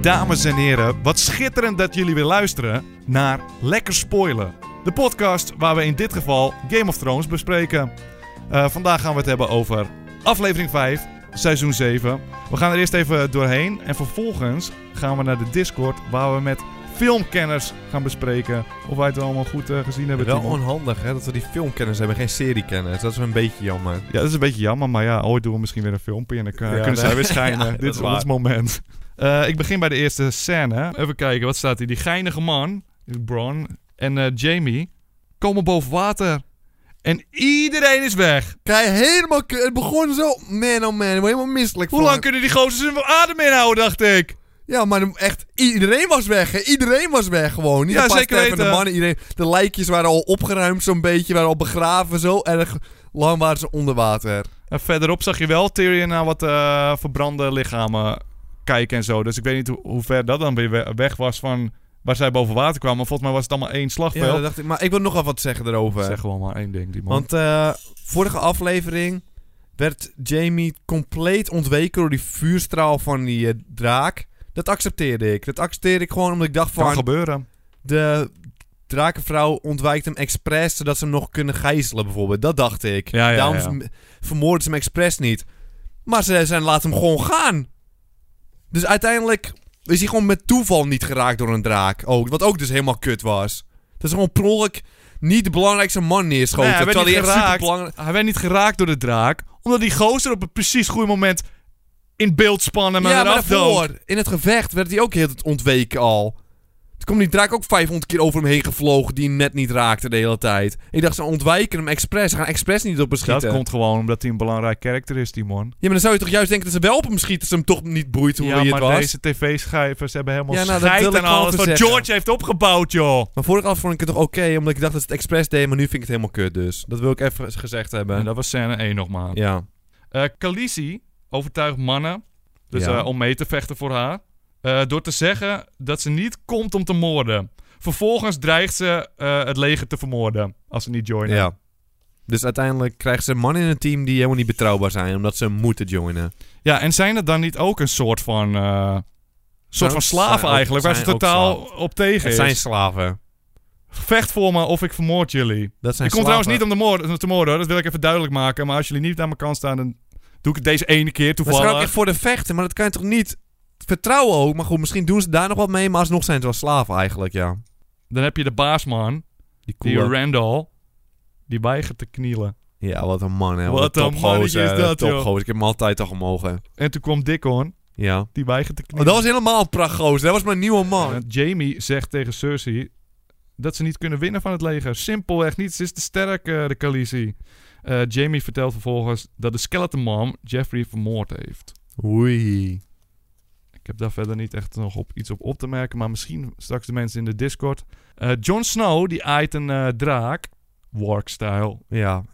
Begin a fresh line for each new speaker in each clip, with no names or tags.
Dames en heren, wat schitterend dat jullie weer luisteren naar Lekker Spoilen. De podcast waar we in dit geval Game of Thrones bespreken. Eh, vandaag gaan we het hebben over aflevering 5, seizoen 7. We gaan er eerst even doorheen en vervolgens gaan we naar de Discord waar we met filmkenners gaan bespreken of wij het allemaal goed eh, gezien hebben.
Wel
Timon.
onhandig hè, dat we die filmkennis hebben, geen seriekennis. Dat is een beetje jammer.
Ja, dat is een beetje jammer, maar ja, ooit doen we misschien weer een filmpje en dan kun-
Ja,
kunnen
nee.
zij weer schijnen.
Ja, dat
Dit
is
is
waar.
ons moment. Eh, ik begin bij de eerste scène. Even kijken, wat staat hier? Die geinige man, Bron en eh, Jamie, komen boven water. En iedereen is weg.
Kijk, helemaal... k- Het begon zo... Man oh man, ik word helemaal misselijk
Hoe
van.
lang kunnen die gozers hun adem inhouden, dacht ik.
Ja, maar dan echt... Iedereen was weg hè. Iedereen was weg gewoon. Niet
Ja,
een paar
zeker
stervende
weten.
mannen, iedereen, de lijkjes waren al opgeruimd zo'n beetje, waren al begraven. Zo erg lang waren ze onder water.
En verderop zag je wel Tyrion naar wat eh, verbrande lichamen kijken en zo. Dus ik weet niet hoe, hoe ver dat dan weer we- weg was van waar zij boven water kwamen. Volgens mij was het allemaal één
Ja, dat
slagveld.
dacht ik. Maar ik wil nogal wat zeggen erover.
zeg gewoon maar één ding, die man.
Want eh, vorige aflevering werd Jamie compleet ontweken door die vuurstraal van die eh, draak. Dat accepteerde ik. Dat accepteerde ik gewoon omdat ik dacht
kan
van...
gebeuren.
De drakenvrouw ontwijkt hem expres zodat ze hem nog kunnen gijzelen bijvoorbeeld. Dat dacht ik.
Ja, ja,
Daarom
ja.
vermoorden vermoorden ze hem expres niet. Maar ze, ze laten hem gewoon gaan. Dus uiteindelijk is hij gewoon met toeval niet geraakt door een draak. Ook, wat ook dus helemaal kut was. Dat is gewoon prollijk niet de belangrijkste man neerschoten.
Nee, hij werd
terwijl
niet
hij echt
geraakt.
superbelangrijk-
Hij werd niet geraakt door de draak, omdat die gozer op het precies goede moment in beeld spannen en
ja,
hem
maar
eraf dood.
daarvoor, in het gevecht, werd hij ook heel het ontweken al. Toen kwam die draak ook 500 keer over hem heen gevlogen die hem net niet raakte de hele tijd. Ik dacht, ze ontwijken hem expres. Ze gaan expres niet op hem schieten.
Dat komt gewoon omdat hij een belangrijk karakter is, die man.
Ja, maar dan zou je toch juist denken dat ze wel op hem schieten. Ze hem toch niet boeit hoe
Ja,
hij
maar
het was.
deze tv-schrijvers hebben helemaal
Ja, nou, dat
scheid
wil ik
aan
wel
alles wat
zeggen.
George heeft opgebouwd, joh.
Maar vorige af vond ik het toch oké, omdat ik dacht dat ze het expres deden. Maar nu vind ik het helemaal kut dus. Dat wil ik even gezegd
En
hebben.
dat was scène 1 nogmaals. Eh
Ja.
Khaleesi overtuigt mannen, dus
Ja.
eh, om mee te vechten voor haar, eh, door te zeggen dat ze niet komt om te moorden. Vervolgens dreigt ze eh, het leger te vermoorden als ze niet joinen.
ja. Dus uiteindelijk krijgen ze mannen in het team die helemaal niet betrouwbaar zijn. Omdat ze moeten joinen.
Ja, en zijn het dan niet ook een soort van. eh, soort
Nou,
van slaven
zijn ook-
eigenlijk, waar ze
zijn ook
totaal op tegen
Het
is.
zijn slaven.
Vecht voor me of ik vermoord jullie.
Dat zijn
ik kom trouwens niet om de moord, te moorden hoor, dat wil ik even duidelijk maken. Maar als jullie niet aan mijn kant staan, dan doe ik het deze ene keer
Maar ze gaan ook
toevallig.
echt voor de vechten, maar dat kan je toch niet vertrouwen ook. Maar goed, misschien doen ze daar nog wat mee, maar alsnog zijn ze wel slaven eigenlijk, ja.
Dan heb je de baasman,
Die
die
coole-
Randall, die weigert te knielen.
Ja, wat een man, hè.
Wat een
topgozer,
mannetje is
hè.
dat, joh.
topgozer. Ik heb hem altijd al gemogen.
En toen kwam Dickon,
Ja.
die weigert te
Oh,
knielen.
dat was helemaal een prachtgozer. Dat was mijn nieuwe man.
En Jamie zegt tegen Cersei dat ze niet kunnen winnen van het leger. Simpelweg niet. Ze is te sterk, eh, de Khaleesi. Eh Jamie vertelt vervolgens dat de Skeleton Mom Jeffrey vermoord heeft.
Oei.
Ik heb daar verder niet echt nog op, iets op op te merken, maar misschien straks de mensen in de Discord. Eh Jon Snow, die aait een eh, draak. Wark-style.
Ja.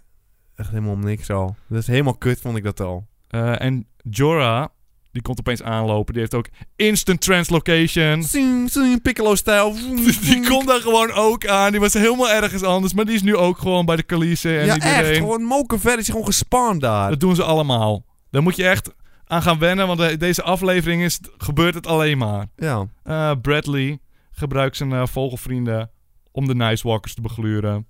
Echt helemaal om niks al. Dat is helemaal kut, vond ik dat al.
Eh, en Jorah, die komt opeens aanlopen. Die heeft ook instant translocation.
Zing, zing, Piccolo-stijl. Mm.
Die komt daar gewoon ook aan. Die was helemaal ergens anders, maar die is nu ook gewoon bij de Khaleesi en
Ja,
iedereen.
echt. Gewoon mokerver is gewoon gespannen daar.
Dat doen ze allemaal. Daar moet je echt aan gaan wennen, want eh, deze aflevering is, gebeurt het alleen maar.
Ja.
Eh, Bradley gebruikt zijn eh, vogelvrienden om de Nice Walkers te begluren.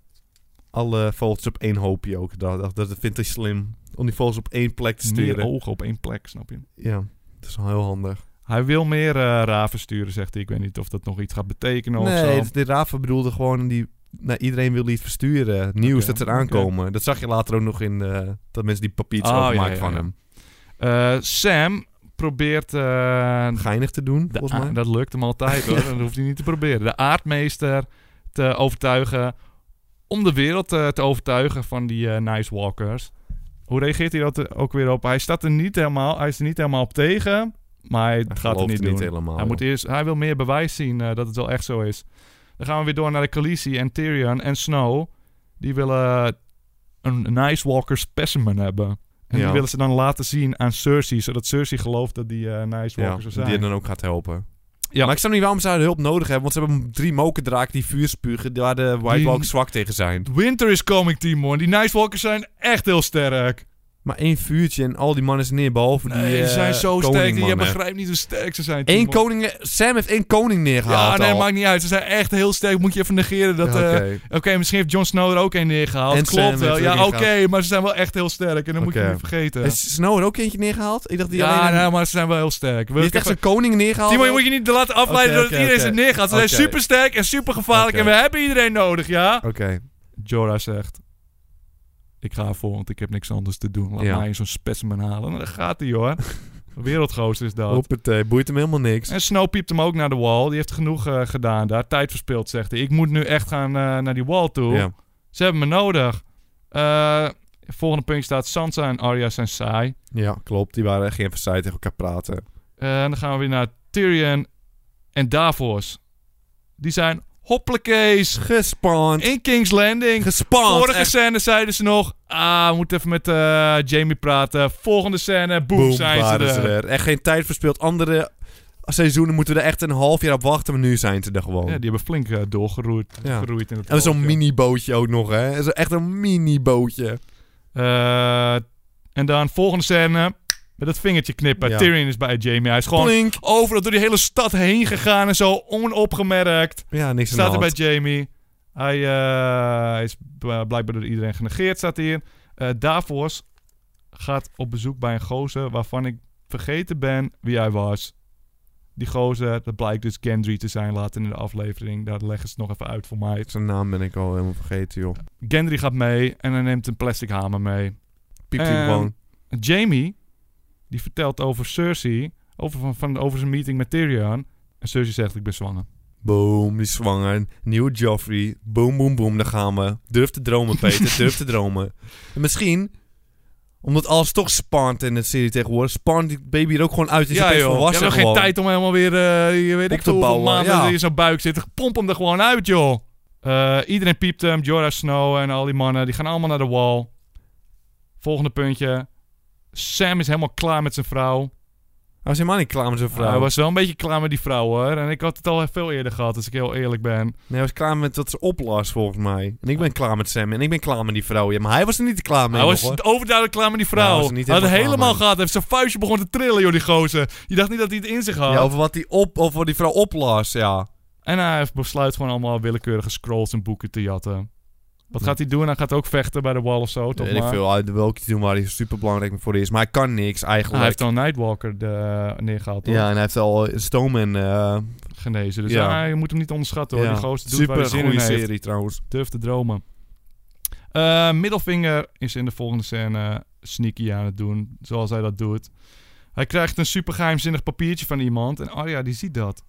Alle vogels op één hoopje ook. Dat, dat, dat vindt hij slim. Om die vogels op één plek te
Meer
sturen.
ogen op één plek, snap je?
Ja. Dat is wel heel handig.
Hij wil meer eh, raven sturen, zegt hij. Ik weet niet of dat nog iets gaat betekenen Nou, of zo.
Nee, de Rafa bedoelde gewoon die. Nou, iedereen wil iets versturen. Nieuws
Oké,
dat ze eraan
oké.
komen. Dat zag je later ook nog in. eh, dat mensen die papiertjes
Oh,
overmaken
ja, ja,
van
ja.
hem.
Eh, Sam probeert... eh,
Geinig te doen,
de
volgens
a-
mij.
ah, dat lukt hem altijd hoor, dat hoeft hij niet te proberen. De aardmeester te overtuigen om de wereld eh, te overtuigen van die eh, Nice Walkers. Hoe reageert hij dat er ook weer op? Hij, staat er niet helemaal, hij is er niet helemaal op tegen, maar hij,
Hij
gaat het
gelooft
niet
er
doen.
helemaal.
Hij, moet eerst, hij wil meer bewijs zien eh, dat het wel echt zo is. Dan gaan we weer door naar de Khaleesi en Tyrion en Snow. Die willen een Nice Walker specimen hebben. En die
Ja.
willen ze dan laten zien aan Cersei, zodat Cersei gelooft dat die eh, Nice
ja,
Walkers er
die
zijn.
hem dan ook gaat helpen.
Ja.
Ja. Maar ik snap niet waarom ze haar hulp nodig hebben. Want ze hebben drie mokendraken die vuur spugen. Waar de White
Die-
Walkers zwak tegen zijn.
Winter is coming, Timon. Die Nice Walkers zijn echt heel sterk.
maar één vuurtje en al die mannen zijn neer, behalve die
Nee, ze
eh,
zijn zo sterk. Je
koningmannen.
begrijpt niet hoe sterk ze zijn.
Eén
Timon.
koning, Sam heeft één koning
Ja,
neergehaald
nee,
al.
maakt niet uit. Ze zijn echt heel sterk. Moet je even negeren dat...
Ja,
eh,
Oké,
Oké, misschien heeft Jon Snow er ook één neergehaald.
En Sam
Klopt
heeft
wel.
er
Ja,
ook
oké,
één gehaald.
maar ze zijn wel echt heel sterk. En dat moet je
Oké.
niet vergeten.
Heeft Snow er ook eentje neergehaald? Ik dacht die
ja,
alleen...
nee, maar ze zijn wel heel sterk. Wil
die
ik
heeft echt
even-
zijn koning neergehaald?
Timo, je moet je niet laten afleiden
Oké,
dat
oké,
iedereen
oké.
ze neergaat. Ze
Oké.
zijn super sterk en super gevaarlijk
Oké.
en we hebben iedereen nodig, ja?
Oké.
Jorah zegt: Ik ga ervoor, want ik heb niks anders te doen. Laat
Ja.
mij eens zo'n specimen halen. En daar gaat hij, hoor. Wereldgoos is dat.
Hoppatee, boeit hem helemaal niks.
En Snow piept hem ook naar de wall. Die heeft genoeg eh, gedaan daar. Tijd verspild, zegt hij. Ik moet nu echt gaan eh, naar die wall toe.
Ja.
Ze hebben me nodig. Eh, volgende puntje staat: Sansa en Arya zijn saai.
ja, klopt. Die waren echt geen verzijde tegen elkaar praten.
Eh, en dan gaan we weer naar Tyrion en Davos. Die zijn hopplekees
Gespand.
in King's Landing.
Gespand.
Vorige scène zeiden ze nog: Ah, we moeten even met eh, Jamie praten. Volgende scène, boem, zijn ze
waren
er.
er. Echt geen tijd verspild. Andere seizoenen moeten we er echt een half jaar op wachten, maar nu zijn ze er gewoon.
Ja, die hebben flink eh, doorgeroeid.
Ja.
geroeid in het
En zo'n
bootje.
mini-bootje ook nog, hè. Zo Echt een mini-bootje.
Eh, en dan volgende scène. Met dat vingertje knippen.
Ja.
Tyrion is bij Jamie. Hij is gewoon
Plink.
overal door die hele stad heen gegaan en zo onopgemerkt.
Ja, niks aan
Staat
de
er bij
hand.
Jamie. Hij eh, is b- blijkbaar door iedereen genegeerd, staat hier. Eh Davos gaat op bezoek bij een gozer waarvan ik vergeten ben wie hij was. Die gozer, dat blijkt dus Gendry te zijn later in de aflevering. Daar leggen ze het nog even uit voor mij.
Zijn naam ben ik al helemaal vergeten, joh.
Gendry gaat mee en hij neemt een plastic hamer mee.
Piept
Ehm,
hij gewoon.
Jamie, die vertelt over Cersei, over, van, van, over zijn meeting met Tyrion. En Cersei zegt, ik ben zwanger.
Boom, die is zwanger. Nieuwe Joffrey. Boom, boom, boom, daar gaan we. Durf te dromen, Peter. durf te dromen. En misschien, omdat alles toch spant in de serie tegenwoordig, spant die baby er ook gewoon uit. Is ja, joh.
Je hebt
Volwassen
nog geen
gewoon.
tijd om helemaal weer, eh, je weet
Op
ik
te
veel, hoeveel
bouwen,
maanden
ja.
in zo'n buik zitten. Pomp hem er gewoon uit, joh. Eh, iedereen piept hem. Jorah Snow en al die mannen, die gaan allemaal naar de wall. Volgende puntje. Sam is helemaal klaar met zijn vrouw.
Hij was helemaal niet klaar met zijn vrouw.
Hij was wel een beetje klaar met die vrouw, hoor. En ik had het al veel eerder gehad, als ik heel eerlijk ben.
Nee, hij was klaar met dat ze oplas, volgens mij. En ik ben klaar met Sam en ik ben klaar met die vrouw. Ja, maar hij was er niet klaar mee.
Hij was
nog, hoor.
overduidelijk klaar met die vrouw.
Ja,
hij
hij was er niet
had het
helemaal klaar
helemaal
mee.
gehad. Hij heeft zijn vuistje begon te trillen, joh, die gozer. Je dacht niet dat hij het in zich had.
Ja, over wat die, op, over wat die vrouw oplas, ja.
En hij heeft besluit gewoon allemaal willekeurige scrolls en boeken te jatten. Wat gaat hij doen? Hij gaat ook vechten bij de wall of zo, toch
Weet ik
maar?
veel. Hij wilde doen waar hij super belangrijk voor is. Maar hij kan niks,
Hij
eigenlijk.
heeft al Nightwalker de, eh, neergehaald, toch?
ja, en hij heeft al Stoneman... eh
Genezen. Dus
Ja.
ja. je moet hem niet onderschatten, hoor.
ja.
Die gozer doet waar
Super
hij zin in
goede
heeft.
serie, trouwens.
Durf te dromen. Eh, Middelvinger is in de volgende scène sneaky aan het doen, zoals hij dat doet. Hij krijgt een super geheimzinnig papiertje van iemand en Arya die ziet dat.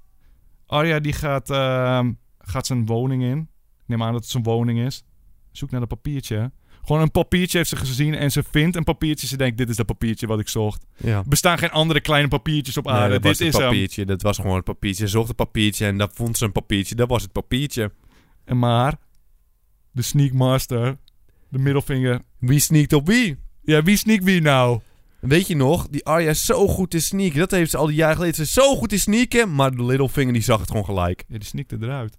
Arya die gaat, ehm, gaat zijn woning in. Ik neem aan dat het zijn woning is. Zoek naar dat papiertje. Gewoon een papiertje heeft ze gezien en ze vindt een papiertje. Ze denkt, dit is dat papiertje wat ik zocht.
Ja.
Er bestaan geen andere kleine papiertjes op aarde.
Nee, dat was
dit
het
is hem.
papiertje. Dat was gewoon het papiertje. Ze zocht een papiertje en dat vond ze een papiertje. Dat was het papiertje.
En maar, de sneak master, de middelvinger.
Wie sneakt op wie?
Ja, wie sneakt wie nou?
Weet je nog, die Arya is zo goed in sneaken. Dat heeft ze al die jaren geleden. Ze is zo goed in sneaken, maar de Littlefinger die zag het gewoon gelijk.
Ja, die sneakte eruit.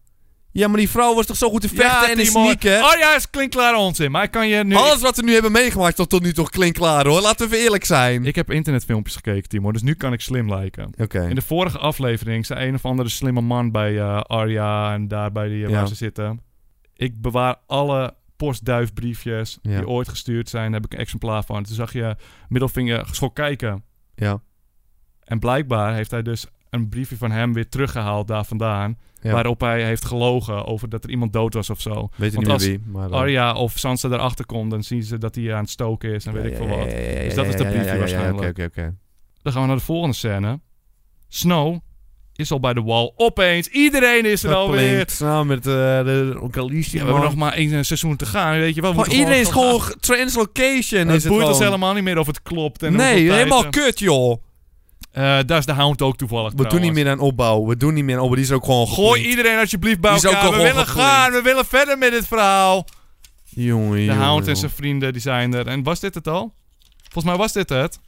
Ja, maar die vrouw was toch zo goed in vechten en in
Timon.
sneaken?
Oh ja, is klinkklaar onzin. Maar ik kan je nu...
Alles wat we nu hebben meegemaakt is toch tot nu toch klinkklaar hoor. Laten we even eerlijk zijn.
Ik heb internetfilmpjes gekeken, Timo. Dus nu kan ik slim lijken.
Oké.
In de vorige aflevering zei een of andere slimme man bij eh, Arya en daar bij die, eh,
Ja.
waar ze zitten. Ik bewaar alle postduifbriefjes
Ja.
die ooit gestuurd zijn. Daar heb ik een exemplaar van. Toen zag je middelvinger geschokt kijken.
Ja.
En blijkbaar heeft hij dus een briefje van hem weer teruggehaald daar vandaan.
Ja.
Waarop hij heeft gelogen over dat er iemand dood was of zo.
Weet
Want
je niet meer
als
wie, maar... eh,
Arya of Sansa erachter komt, dan zien ze dat hij aan het stoken is en weet
ja,
ik
ja,
veel
ja,
wat.
ja, ja, ja,
Dus dat is dat
ja, ja,
briefje
ja, ja,
waarschijnlijk.
Oké, oké, oké.
Dan gaan we naar de volgende scène. Snow is al bij de wall. Opeens, iedereen is er
Dat
alweer.
blinkt samen met eh, de
Ja, we
Onkalicia,
hebben nog maar één eh, seizoen te gaan, weet je wel. We
Van
moeten
iedereen is gewoon
Het
ge- translocation. is
boeit
het
ons
gewoon.
helemaal niet meer of het klopt. En hoeveel
Nee,
tijd,
helemaal
eh.
kut, joh.
Eh, daar is de Hound ook toevallig
We doen niet
trouwens.
meer aan opbouw. We doen niet meer aan opbouw. Die is ook gewoon
Gooi
geplint.
iedereen alsjeblieft bij
Die is ook
elkaar. We
gewoon
willen
geplint.
gaan, we willen verder met dit verhaal.
Jongen,
De
jongen,
Hound en
jongen.
zijn vrienden die zijn er. En was dit het al? Volgens mij was dit het.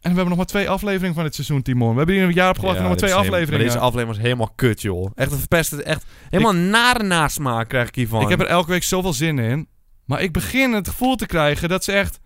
En we hebben nog maar twee afleveringen van dit seizoen, Timon. We hebben hier een jaar op gewacht en
Ja,
nog maar
dit
twee
is helemaal-
afleveringen.
maar deze aflevering was helemaal kut, joh. Echt een verpeste... Echt helemaal een nare nasmaak krijg ik hiervan.
Ik heb er elke week zoveel zin in. Maar ik begin het gevoel te krijgen dat ze echt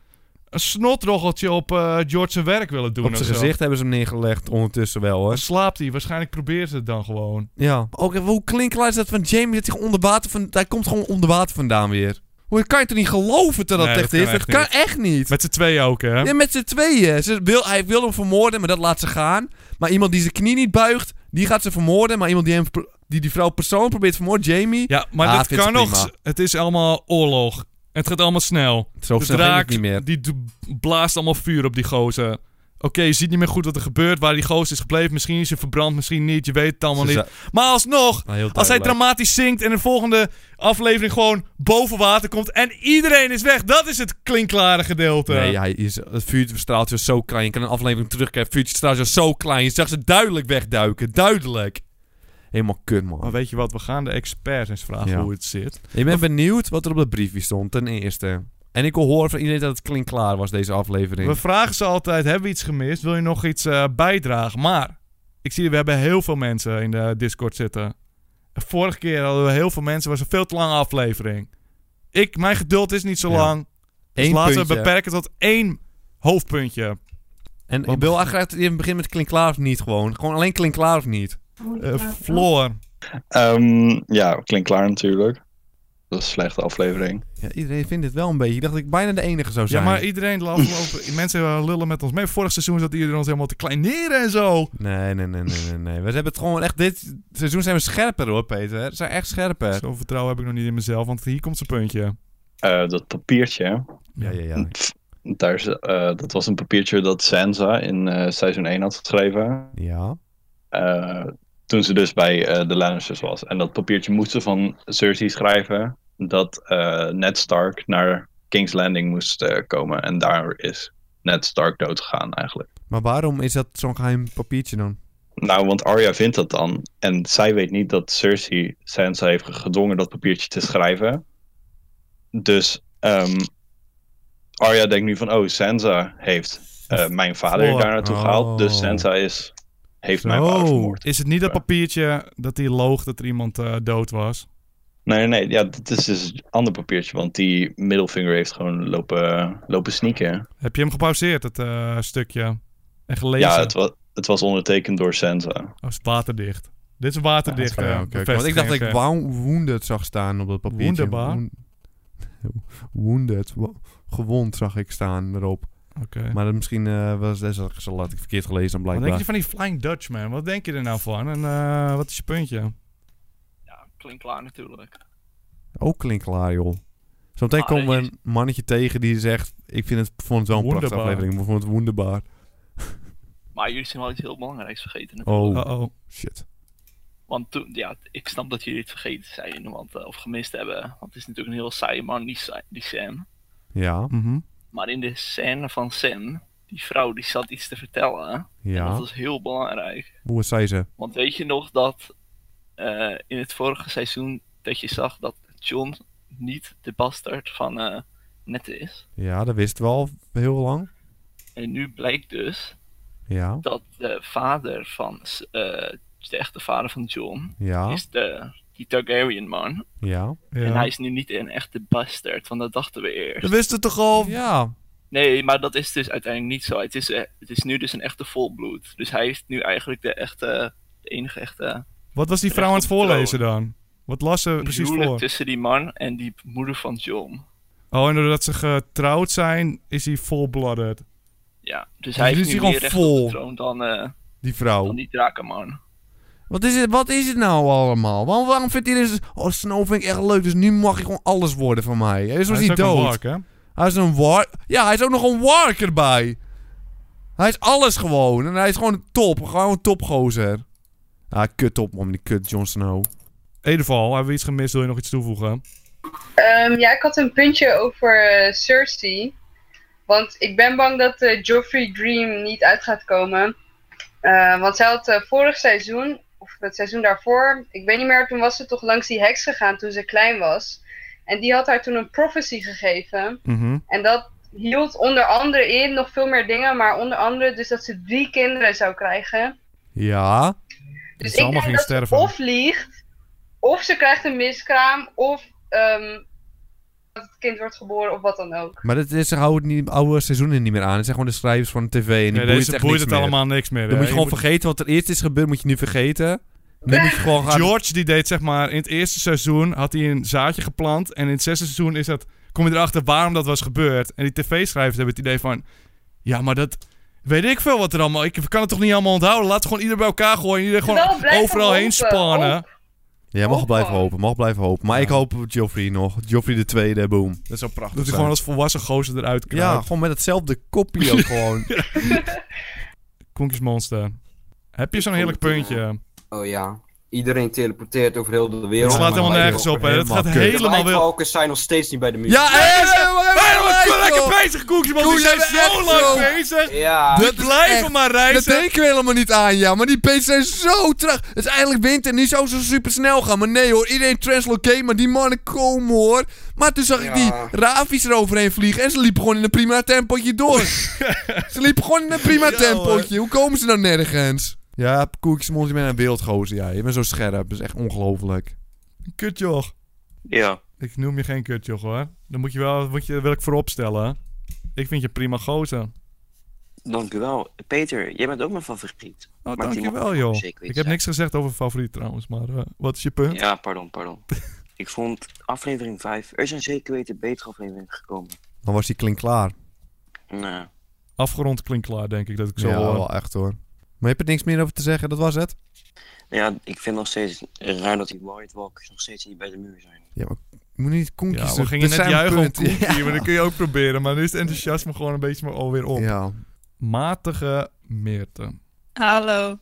een snotroggeltje op eh, George zijn werk willen doen.
Op
of
zijn
zo.
gezicht hebben ze hem neergelegd ondertussen wel, hoor.
Dan slaapt hij. Waarschijnlijk probeert ze het dan gewoon.
Ja. Ook even hoe klinkklaar is dat van Jamie dat hij gewoon onder water van... Hij komt gewoon onder water vandaan weer. Hoe kan je het niet geloven dat dat
Nee,
echt
dat
is?
kan echt
dat kan echt niet.
Met z'n tweeën ook, hè?
Ja, met z'n tweeën. Ze wil, hij wil hem vermoorden, maar dat laat ze gaan. Maar iemand die zijn knie niet buigt, die gaat ze vermoorden. Maar iemand die, hem, pro- die, die vrouw persoonlijk probeert te vermoorden, Jamie...
Ja, maar
Ah,
dat
vindt
kan
ze
nog.
prima.
s- Het is allemaal oorlog. Het gaat allemaal snel.
Zo
de
snel ging het
Dus draak
niet meer.
die d- blaast allemaal vuur op die gozer. Oké, je ziet niet meer goed wat er gebeurt. Waar die gozer is gebleven. Misschien is hij verbrand, misschien niet. Je weet het allemaal
Ze
niet.
zei-
Maar alsnog,
Nou, heel
als hij
duidelijk.
dramatisch zinkt en de volgende aflevering gewoon boven water komt en iedereen is weg. Dat is het klinkklare gedeelte.
Nee, hij is, het vuurstraaltje was zo klein. Je kan een aflevering terugkijken. Het vuurstraaltje was zo klein. Je zag ze duidelijk wegduiken. Duidelijk. Helemaal kut,
Maar
man.
weet je wat, we gaan de experts eens vragen
Ja.
hoe het zit.
Ik ben benieuwd wat er op dat briefje stond, ten eerste. En ik wil horen van iedereen dat het klinkklaar was, deze aflevering.
We vragen ze altijd, hebben we iets gemist? Wil je nog iets eh, bijdragen? Maar, ik zie, we hebben heel veel mensen in de Discord zitten. Vorige keer hadden we heel veel mensen, was een veel te lange aflevering. Ik, mijn geduld is niet zo
Ja.
lang. Dus
Eén
laten
puntje.
we beperken tot één hoofdpuntje.
En ik wil eigenlijk graag dat je begint met klinkklaar of niet gewoon. Gewoon alleen klinkklaar of niet.
Eh Floor.
Ehm, ja, klinkt klaar natuurlijk. Dat is een slechte aflevering.
Ja, iedereen vindt het wel een beetje. Ik dacht dat ik bijna de enige zou
Ja,
zijn.
maar iedereen laat lopen. Mensen eh, lullen met ons mee. Vorig seizoen zat iedereen ons helemaal te kleineren en zo.
Nee, nee, nee, nee, nee, nee. We hebben het gewoon echt... Dit seizoen zijn we scherper hoor, Peter. We zijn echt scherper.
Zo vertrouwen heb ik nog niet in mezelf, want hier komt zijn puntje.
Eh, dat papiertje, hè.
Ja, ja, ja.
Pff, daar is, eh, dat was een papiertje dat Sansa in eh, seizoen 1 had geschreven.
Ja.
Eh, toen ze dus bij eh, de Lannisters was. En dat papiertje moest ze van Cersei schrijven. Dat eh, Ned Stark naar King's Landing moest eh, komen. En daar is Ned Stark doodgegaan eigenlijk.
Maar waarom is dat zo'n geheim papiertje dan?
Nou, want Arya vindt dat dan. En zij weet niet dat Cersei Sansa heeft gedwongen dat papiertje te schrijven. Dus ehm Arya denkt nu van... Oh, Sansa heeft eh, mijn vader
Vermoord.
daar naartoe gehaald. Dus
Oh.
Sansa is, heeft mijn
Zo.
vader vermoord.
Is het niet dat papiertje dat hij loog dat er iemand eh, dood was?
Nee, nee, ja, dat is dus een ander papiertje. Want die middelvinger heeft gewoon lopen, lopen sneaken.
Heb je hem gepauzeerd, het eh, stukje? En gelezen?
Ja, het, wa het was ondertekend door Sansa.
Oh, is waterdicht. Dit is waterdicht. eh,
Ja,
Ja,
dat is
Ja, oké, oké. Want ik dacht dat ik wou- wounded zag staan op dat papiertje.
Wonderbaar.
Wound- Wounded. wo- Gewond zag ik staan erop. Maar dat misschien eh, was dat had ik- zo laat ik verkeerd gelezen dan
Wat denk
blijkbaar.
je van die Flying Dutchman? Wat denk je er nou van? En eh, wat is je puntje?
Ja, klinkt klaar natuurlijk.
Ook klinkklaar, joh. Zometeen
Maar
komen we
dat is-
een mannetje tegen die zegt... Ik vind het, vond het wel een prachtige
Wonderbaar.
aflevering. Ik vond het wonderbaar.
Maar jullie zijn wel iets heel belangrijks vergeten. natuurlijk.
Oh,
Uh-oh.
shit.
Want toen, ja, ik snap dat jullie het vergeten zijn want, eh, of gemist hebben. Want het is natuurlijk een heel saaie man, die, sa- die Sam.
Ja,
Mhm.
Maar in de scène van Sam, die vrouw die zat iets te vertellen. En dat
ja.
was heel belangrijk.
Hoe zei ze?
Want weet je nog dat eh, in het vorige seizoen dat je zag dat John niet de bastard van eh Ned is.
Ja, dat wist wel heel lang.
En nu blijkt dus
Ja,
dat de vader van S- eh, de echte vader van John
ja,
is de, die Targaryen man.
ja.
Ja.
En hij is nu niet een echte bastard, want dat dachten we
We
eerst.
wisten het toch al?
Ja,
Nee, maar dat is dus uiteindelijk niet zo. Het is, eh, het is nu dus een echte volbloed. Dus hij is nu eigenlijk de echte, de enige echte
Wat was die vrouw aan het voorlezen dan? Wat las ze precies
huwelijk
voor?
tussen die man en die moeder van John.
Oh, en doordat ze getrouwd zijn, is hij full-blooded.
Ja, dus
Maar
hij
nu
is
is
nu
hij
meer recht
gewoon
op
vol.
de troon dan, eh,
die vrouw.
dan die drakenman.
Wat is, het, wat is het nou allemaal? Waarom, waarom vindt hij dus... Oh, Snow vind ik echt leuk, dus nu mag hij gewoon alles worden van mij. Hij is nog
Hij is
niet
ook een
dood.
wark, hè?
hij is een war... Ja, hij is ook nog een wark erbij. Hij is alles gewoon. En hij is gewoon top. Gewoon een topgozer. Ah, kut op, man. Die kut Jon Snow.
Edeval, hebben we iets gemist? Wil je nog iets toevoegen?
Ehm, ja, ik had een puntje over eh, Cersei. Want ik ben bang dat eh Joffrey Dream niet uit gaat komen. Eh, want zij had eh, vorig seizoen, of het seizoen daarvoor, ik weet niet meer, toen was ze toch langs die heks gegaan toen ze klein was. En die had haar toen een prophecy gegeven.
Mhm.
En dat hield onder andere in nog veel meer dingen, maar onder andere dus dat ze drie kinderen zou krijgen.
Ja.
Dat
Dus
ze
ik
allemaal
denk
gingen
dat
sterven.
of liegt, of ze krijgt een miskraam, of ehm, dat het kind wordt geboren of wat dan ook.
Maar dat is, ze houden het niet, oude seizoenen niet meer aan. Het zijn gewoon de schrijvers van de tv. En die
Nee,
boeit
deze
het echt
boeit
niks
het
meer.
allemaal niks meer.
Dan
hè.
moet je gewoon
Je
vergeten wat er eerst is gebeurd, moet je nu vergeten. Nu moet je gewoon gaan...
George die deed zeg maar, in het eerste seizoen had hij een zaadje geplant. En in het zesde seizoen is dat, kom je erachter waarom dat was gebeurd. En die tv-schrijvers hebben het idee van, ja maar dat weet ik veel wat er allemaal. Ik kan het toch niet allemaal onthouden. Laat gewoon ieder bij elkaar gooien. Ieder
Wel,
gewoon
blijf
overal
hopen,
heen spannen.
hoop.
Ja, mag
Hoop
blijven
gewoon.
hopen, mag blijven hopen. Maar ik hoop op Joffrey nog. Joffrey de tweede, boom. Dat zou prachtig
Dat hij gewoon als volwassen gozer eruit krijgt.
Ja, gewoon met hetzelfde kopje ook gewoon.
Konkjesmonster. Heb je zo'n heerlijk puntje?
Oh ja. Iedereen teleporteert over heel de
Het
wereld.
slaat
man,
helemaal
maar
nergens op, hè? Het
helemaal
gaat
kut.
De
helemaal wel.
Nightwalkers zijn nog steeds niet bij de muur.
Ja, hé,
Hey,
we zijn
Helemaal
helemaal
lekker
lekker
bezig, Koekjesman.
Koen,
Die zijn
jij bent
zo
echt zo.
lang bezig.
Ja.
We
Dat is
blijven
echt-
maar
Dat
reizen.
denken we helemaal niet aan, ja. Maar die pees zijn zo traag. Het is eigenlijk winter en die zou zo super snel gaan. Maar nee hoor, iedereen translocate, maar die mannen komen hoor. Maar toen zag ik
Ja.
die Ravi's eroverheen vliegen en ze liepen gewoon in een prima tempotje door. ze liepen gewoon in een prima
Ja,
tempotje. Hoe komen ze nou nergens? Ja, koekjesmond, je bent een wereldgozer, ja. Je bent zo scherp, dat is echt ongelooflijk.
Kutjoch.
Ja.
Ik noem je geen kutjoch, hoor. Dan moet je wel, moet je, wil ik vooropstellen. Ik vind je prima gozer. Oh,
Dankjewel. Peter, jij bent ook mijn favoriet.
Oh,
Maar die
dankjewel,
mag
joh.
zeker iets
Ik heb
zijn.
niks gezegd over favoriet, trouwens. Maar eh, wat is je punt?
Ja, pardon, pardon. ik vond aflevering 5, er zijn zeker weten betere afleveringen gekomen.
Dan was die klink klaar.
Nou,
Afgerond klinkt klaar, denk ik, dat ik zo eh,
ja,
hoor.
wel echt hoor. Maar je hebt er niks meer over te zeggen, dat was het?
ja, ik vind nog steeds raar dat die White Walkers nog steeds niet bij de muur zijn.
Je moet niet koekjes...
Ja, we
doen.
gingen
Dat
net
zijn
juichen om
punten.
Koekie,
Ja.
maar dat kun je ook proberen. Maar nu is het enthousiasme gewoon een beetje maar alweer op.
Ja.
Matige Meerte.
Hallo.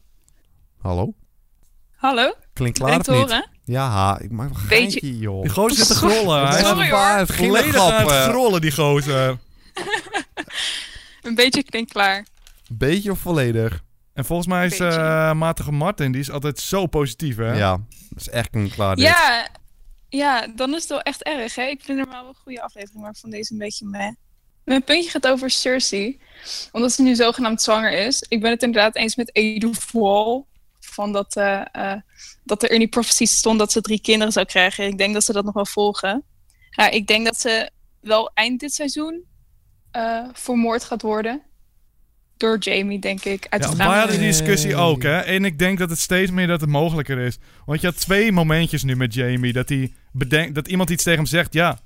Hallo?
Hallo?
Klinkt klaar
Ben ik
of
te
niet?
horen?
Ja, ha, ik maak een
Beetje-
geintje, joh.
Die gozer zit te grollen. Hij is
Sorry, hoor.
waar, het ging
volledig aan het grollen, die gozer.
Een beetje klinkt klaar.
Beetje of volledig?
En volgens mij is
Beetje.
eh, matige Martin, die is altijd zo positief, hè?
Ja. dat is echt een klaar Ah, dit.
Ja, ja, dan is het wel echt erg, hè? Ik vind normaal wel een goede aflevering, maar van deze een beetje meh. Mijn puntje gaat over Cersei. Omdat ze nu zogenaamd zwanger is. Ik ben het inderdaad eens met Edu Wall. Van dat, eh, eh, dat er in die prophecy stond dat ze drie kinderen zou krijgen. Ik denk dat ze dat nog wel volgen. Ja, ik denk dat ze wel eind dit seizoen eh, vermoord gaat worden. Door Jamie, denk ik. Uit
Ja,
het
wij
raam.
hadden die discussie
Nee.
ook, hè? En ik denk dat het steeds meer dat het mogelijker is. Want je had twee momentjes nu met Jamie. Dat, hij bedenkt, dat iemand iets tegen hem zegt. Ja,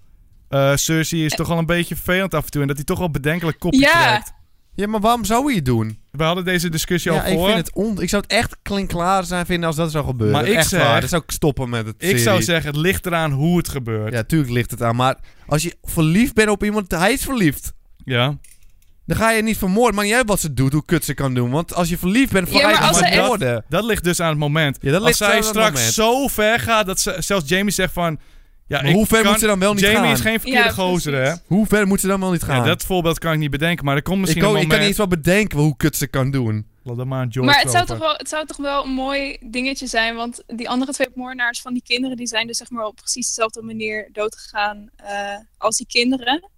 eh Cersei is toch al een beetje vervelend af en toe. En dat hij toch wel bedenkelijk kopje
Ja.
trekt.
Ja, maar waarom zou je het doen?
We hadden deze discussie
Ja,
al
ik
voor.
vind het on... Ik zou het echt klinkklaar zijn vinden als dat zou gebeuren.
Maar ik
echt
zeg-
waar, dan zou ik stoppen met het
Ik zou zeggen, het ligt eraan hoe het gebeurt. Ja.
Ja, tuurlijk ligt het aan, maar als je verliefd bent op iemand, hij is verliefd. Dan ga je niet vermoorden. Maar niet uit wat ze doet, hoe kut ze kan doen. Want als je verliefd bent,
Ja,
ga je
maar
het
als ze echt-
vermoorden.
Dat ligt dus aan het moment.
Ja, dat
Als
ligt aan
zij
het
straks
moment.
zo ver gaat dat ze, zelfs Jamie zegt van... Ja,
Maar
ik
hoe ver
kan-
moet ze dan wel niet
Jamie
gaan?
is geen verkeerde
Ja,
gozer, hè?
precies.
Hoe ver moet ze dan wel niet gaan?
Ja, dat voorbeeld kan ik niet bedenken, maar er komt
ik,
misschien
kan-
een
ik kan
moment...
niet eens wel bedenken hoe kut ze kan doen.
Laat dat maar aan George
Maar het zou,
over.
toch wel, het zou toch wel een mooi dingetje zijn, want die andere twee moordenaars van die kinderen, die zijn dus zeg maar op precies dezelfde manier doodgegaan eh, als die kinderen.